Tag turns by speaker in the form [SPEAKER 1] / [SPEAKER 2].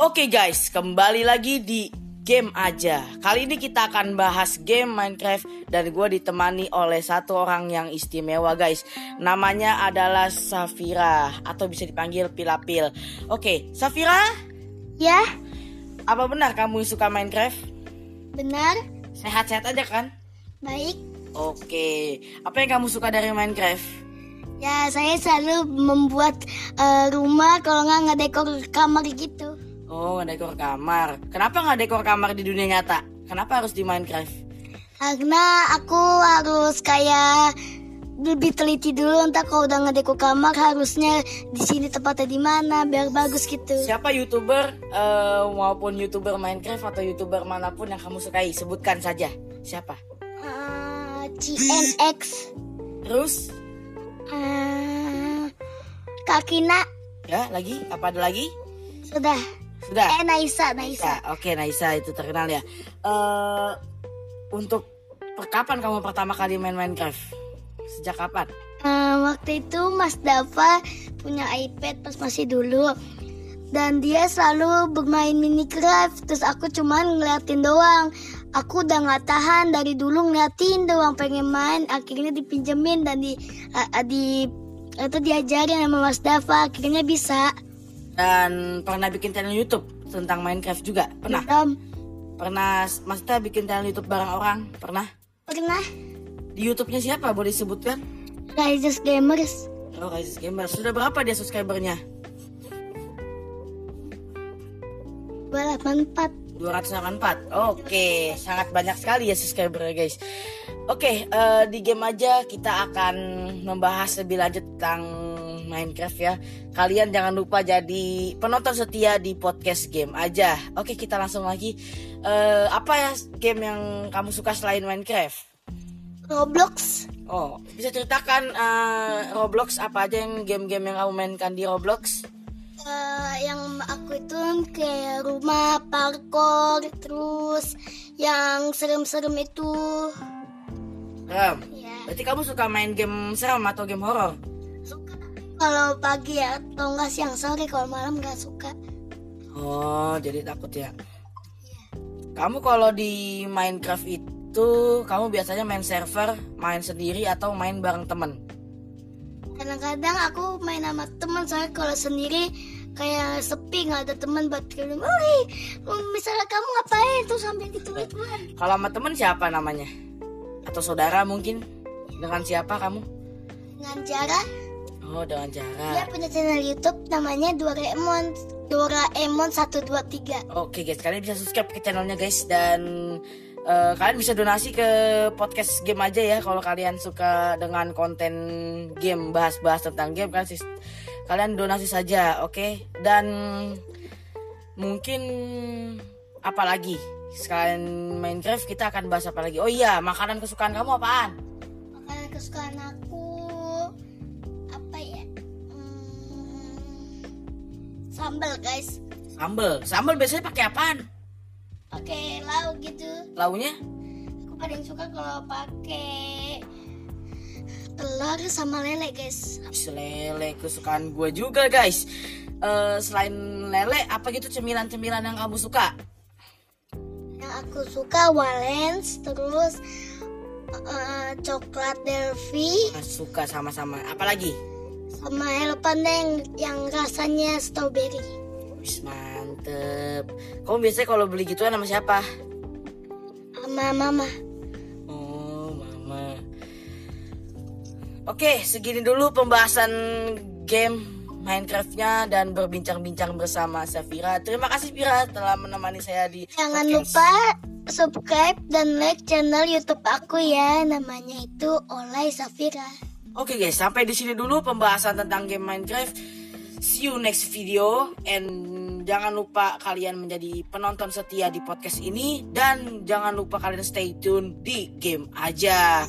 [SPEAKER 1] Oke guys, kembali lagi di game aja. Kali ini kita akan bahas game Minecraft dan gue ditemani oleh satu orang yang istimewa guys. Namanya adalah Safira atau bisa dipanggil Pilapil. Oke, Safira,
[SPEAKER 2] Ya,
[SPEAKER 1] apa benar kamu suka Minecraft?
[SPEAKER 2] benar,
[SPEAKER 1] Sehat-sehat aja kan?
[SPEAKER 2] baik.
[SPEAKER 1] Oke, apa yang kamu suka dari Minecraft?
[SPEAKER 2] Ya, saya selalu membuat eh, rumah kalau nggak ngedekor kamar gitu.
[SPEAKER 1] Oh, ngedekor kamar. Kenapa nggak dekor kamar di dunia nyata? Kenapa harus di Minecraft?
[SPEAKER 2] Karena aku harus kayak lebih teliti dulu entah kalau udah ngedekor kamar harusnya di sini tempatnya di mana biar bagus gitu.
[SPEAKER 1] Siapa youtuber eh, maupun youtuber Minecraft atau youtuber manapun yang kamu sukai? Sebutkan saja. Siapa?
[SPEAKER 2] Eh, CNX
[SPEAKER 1] Terus?
[SPEAKER 2] eh, Kakina
[SPEAKER 1] Ya, lagi? Apa ada lagi?
[SPEAKER 2] sudah.
[SPEAKER 1] Sudah.
[SPEAKER 2] Eh Naisa, Naisa.
[SPEAKER 1] Ya, Oke, Naisa itu terkenal ya. Eh untuk per- kapan kamu pertama kali main Minecraft? Sejak kapan?
[SPEAKER 2] Eh, waktu itu Mas Dava punya iPad pas masih dulu dan dia selalu bermain Minecraft terus aku cuman ngeliatin doang aku udah nggak tahan dari dulu ngeliatin doang pengen main akhirnya dipinjemin dan di a- a- di eh, itu diajarin sama Mas Dava akhirnya bisa
[SPEAKER 1] Dan pernah bikin channel YouTube tentang Minecraft juga? Pernah?
[SPEAKER 2] Belum.
[SPEAKER 1] Pernah maksudnya bikin channel YouTube bareng orang? Pernah?
[SPEAKER 2] pernah
[SPEAKER 1] Di YouTube-nya siapa? Boleh disebutkan?
[SPEAKER 2] Rises Gamers
[SPEAKER 1] Oh, Rises Gamer. Sudah berapa dia subscribernya?
[SPEAKER 2] 284
[SPEAKER 1] 284. Oke, sangat banyak sekali ya subscriber guys. Oke, eh, di game aja kita akan membahas lebih lanjut tentang Minecraft ya. Kalian jangan lupa jadi penonton setia di podcast game aja. Oke, kita langsung lagi. Eh, apa ya game yang kamu suka selain Minecraft?
[SPEAKER 2] Roblox
[SPEAKER 1] Oh, bisa ceritakan eh, Roblox apa aja yang game-game yang kamu mainkan di Roblox?
[SPEAKER 2] Eh, yang aku itu kan kayak rumah parkour terus yang serem-serem itu
[SPEAKER 1] Ram,
[SPEAKER 2] ya
[SPEAKER 1] berarti kamu suka main game seram atau game horor?
[SPEAKER 2] suka kalau pagi ya atau enggak siang sore kalau malam nggak suka
[SPEAKER 1] Oh, jadi takut ya. Kamu kalau di Minecraft itu, kamu biasanya main server, main sendiri atau main bareng temen?
[SPEAKER 2] kadang-kadang aku main sama teman soalnya kalau sendiri kayak sepi nggak ada teman buat kirim oi misalnya kamu ngapain tuh sambil dituit-tuit
[SPEAKER 1] Kalau sama temen siapa namanya? Atau saudara mungkin? Dengan siapa kamu?
[SPEAKER 2] dengan cara
[SPEAKER 1] Oh, dengan
[SPEAKER 2] dia
[SPEAKER 1] jarak.
[SPEAKER 2] punya channel YouTube namanya Doraemon Doraemon 123
[SPEAKER 1] Oke guys, kalian bisa subscribe ke channelnya guys dan eh, kalian bisa donasi ke podcast game aja ya kalau kalian suka dengan konten game bahas-bahas tentang game kan sis- kalian donasi saja, oke? Dan mungkin apa lagi? Sekalian Minecraft kita akan bahas apa lagi? Oh iya, makanan kesukaan kamu apaan?
[SPEAKER 2] makanan kesukaan aku apa ya hmm, sambal guys
[SPEAKER 1] Sambel. Sambel biasanya pakai apaan?
[SPEAKER 2] pakai lauk gitu
[SPEAKER 1] Launya?
[SPEAKER 2] aku paling suka kalau pakai telur sama lele guys
[SPEAKER 1] Wis, Lele kesukaan gue juga guys. Eh, selain lele, apa gitu cemilan-cemilan yang kamu suka?
[SPEAKER 2] yang aku suka walens terus eh, coklat delphi
[SPEAKER 1] Nah, Suka sama-sama. Apalagi?
[SPEAKER 2] sama hello panda yang, yang rasanya strawberry
[SPEAKER 1] Wis mantep. Kamu biasanya kalau beli gituan sama siapa?
[SPEAKER 2] sama mama
[SPEAKER 1] Oh, mama. Oke, segini dulu pembahasan game Minecraftnya dan berbincang-bincang bersama Safira. Terima kasih Vira telah menemani saya di. podcast.
[SPEAKER 2] Jangan lupa subscribe dan like channel YouTube aku ya. Namanya itu Olay Safira.
[SPEAKER 1] Oke guys, sampai di sini dulu pembahasan tentang game Minecraft. See you next video and jangan lupa kalian menjadi penonton setia di podcast ini dan jangan lupa kalian stay tune di game aja.